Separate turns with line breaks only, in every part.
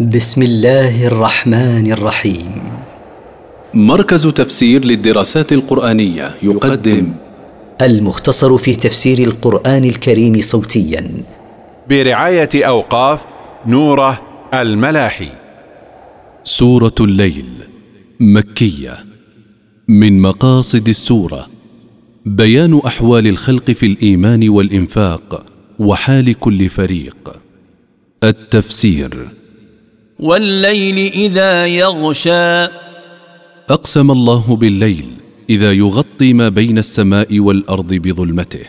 بسم الله الرحمن الرحيم
مركز تفسير للدراسات القرآنية يقدم
المختصر في تفسير القرآن الكريم صوتيا
برعاية أوقاف نوره الملاحي
سورة الليل مكية من مقاصد السورة بيان أحوال الخلق في الإيمان والإنفاق وحال كل فريق التفسير
والليل إذا يغشى
أقسم الله بالليل إذا يغطي ما بين السماء والأرض بظلمته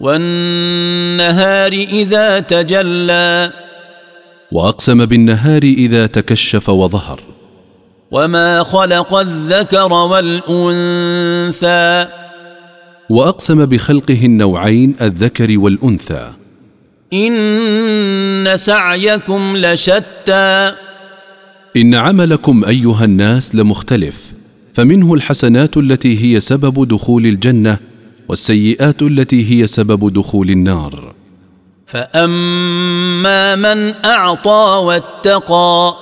والنهار إذا تجلى
وأقسم بالنهار إذا تكشف وظهر
وما خلق الذكر والأنثى
وأقسم بخلقه النوعين الذكر والأنثى
إن سعيكم لشتى
إن عملكم أيها الناس لمختلف فمنه الحسنات التي هي سبب دخول الجنة والسيئات التي هي سبب دخول النار
فأما من أعطى واتقى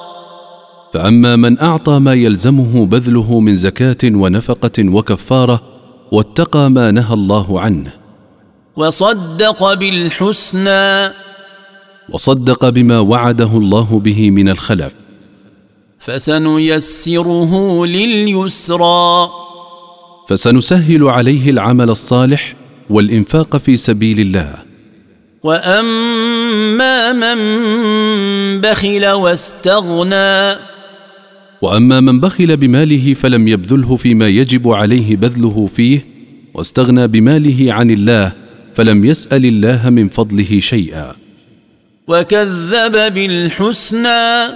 فأما من أعطى ما يلزمه بذله من زكاة ونفقة وكفارة واتقى ما نهى الله عنه
وصدق بالحسنى
وصدق بما وعده الله به من الخلف
فسنيسره لليسرى
فسنسهل عليه العمل الصالح والإنفاق في سبيل الله
واما من بخل واستغنى
وأما من بخل بماله فلم يبذله فيما يجب عليه بذله فيه واستغنى بماله عن الله فلم يسأل الله من فضله شيئا
وكذب بالحسنى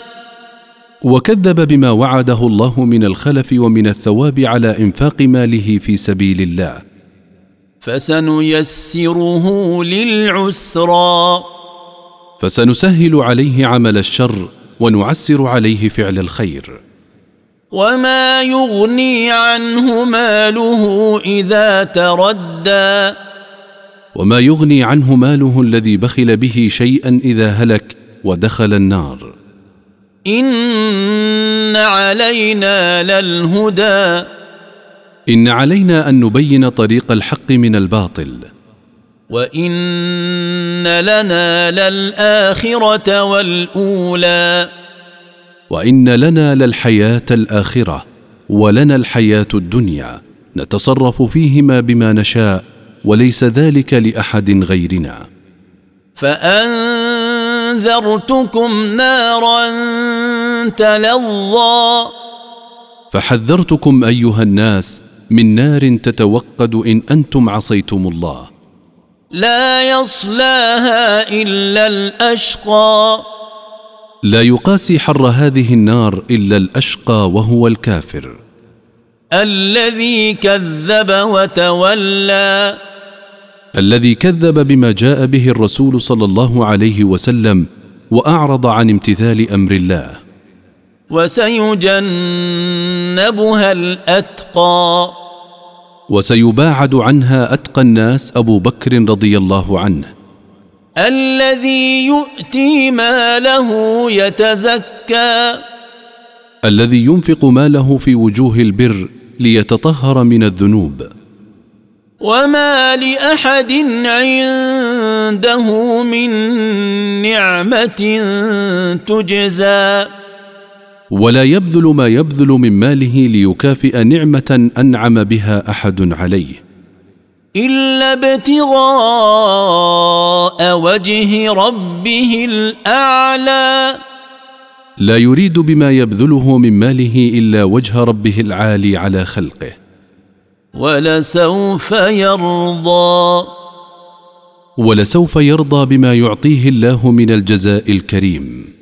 وكذب بما وعده الله من الخلف ومن الثواب على إنفاق ماله في سبيل الله
فسنيسره للعسرى
فسنسهل عليه عمل الشر ونعسر عليه فعل الخير
وما يغني عنه ماله اذا تردى
وما يغني عنه ماله الذي بخل به شيئا إذا هلك ودخل النار
ان علينا للهدى
إن علينا أن نبين طريق الحق من الباطل
وان لنا للاخره والاولى
وإن لنا للحياة الآخرة ولنا الحياة الدنيا نتصرف فيهما بما نشاء وليس ذلك لأحد غيرنا
فانذرتكم نارا تلظى
فحذرتكم أيها الناس من نار تتوقد إن أنتم عصيتم الله
لا يصلاها الا الاشقى
لا يقاسي حر هذه النار إلا الأشقى وهو الكافر
الذي كذب وتولى
الذي كذب بما جاء به الرسول صلى الله عليه وسلم وأعرض عن امتثال أمر الله
وسيجنبها الاتقى
وسيباعد عنها أتقى الناس أبو بكر رضي الله عنه
الذي يؤتي ماله يتزكى
الذي ينفق ماله في وجوه البر ليتطهر من الذنوب
وما لاحد عنده من نعمه تجزى
ولا يبذل ما يبذل من ماله ليكافئ نعمة أنعم بها أحد عليه
الا ابتغاء وجه ربه الاعلى
لا يريد بما يبذله من ماله إلا وجه ربه العالي على خلقه
ولسوف يرضى
ولسوف يرضى بما يعطيه الله من الجزاء الكريم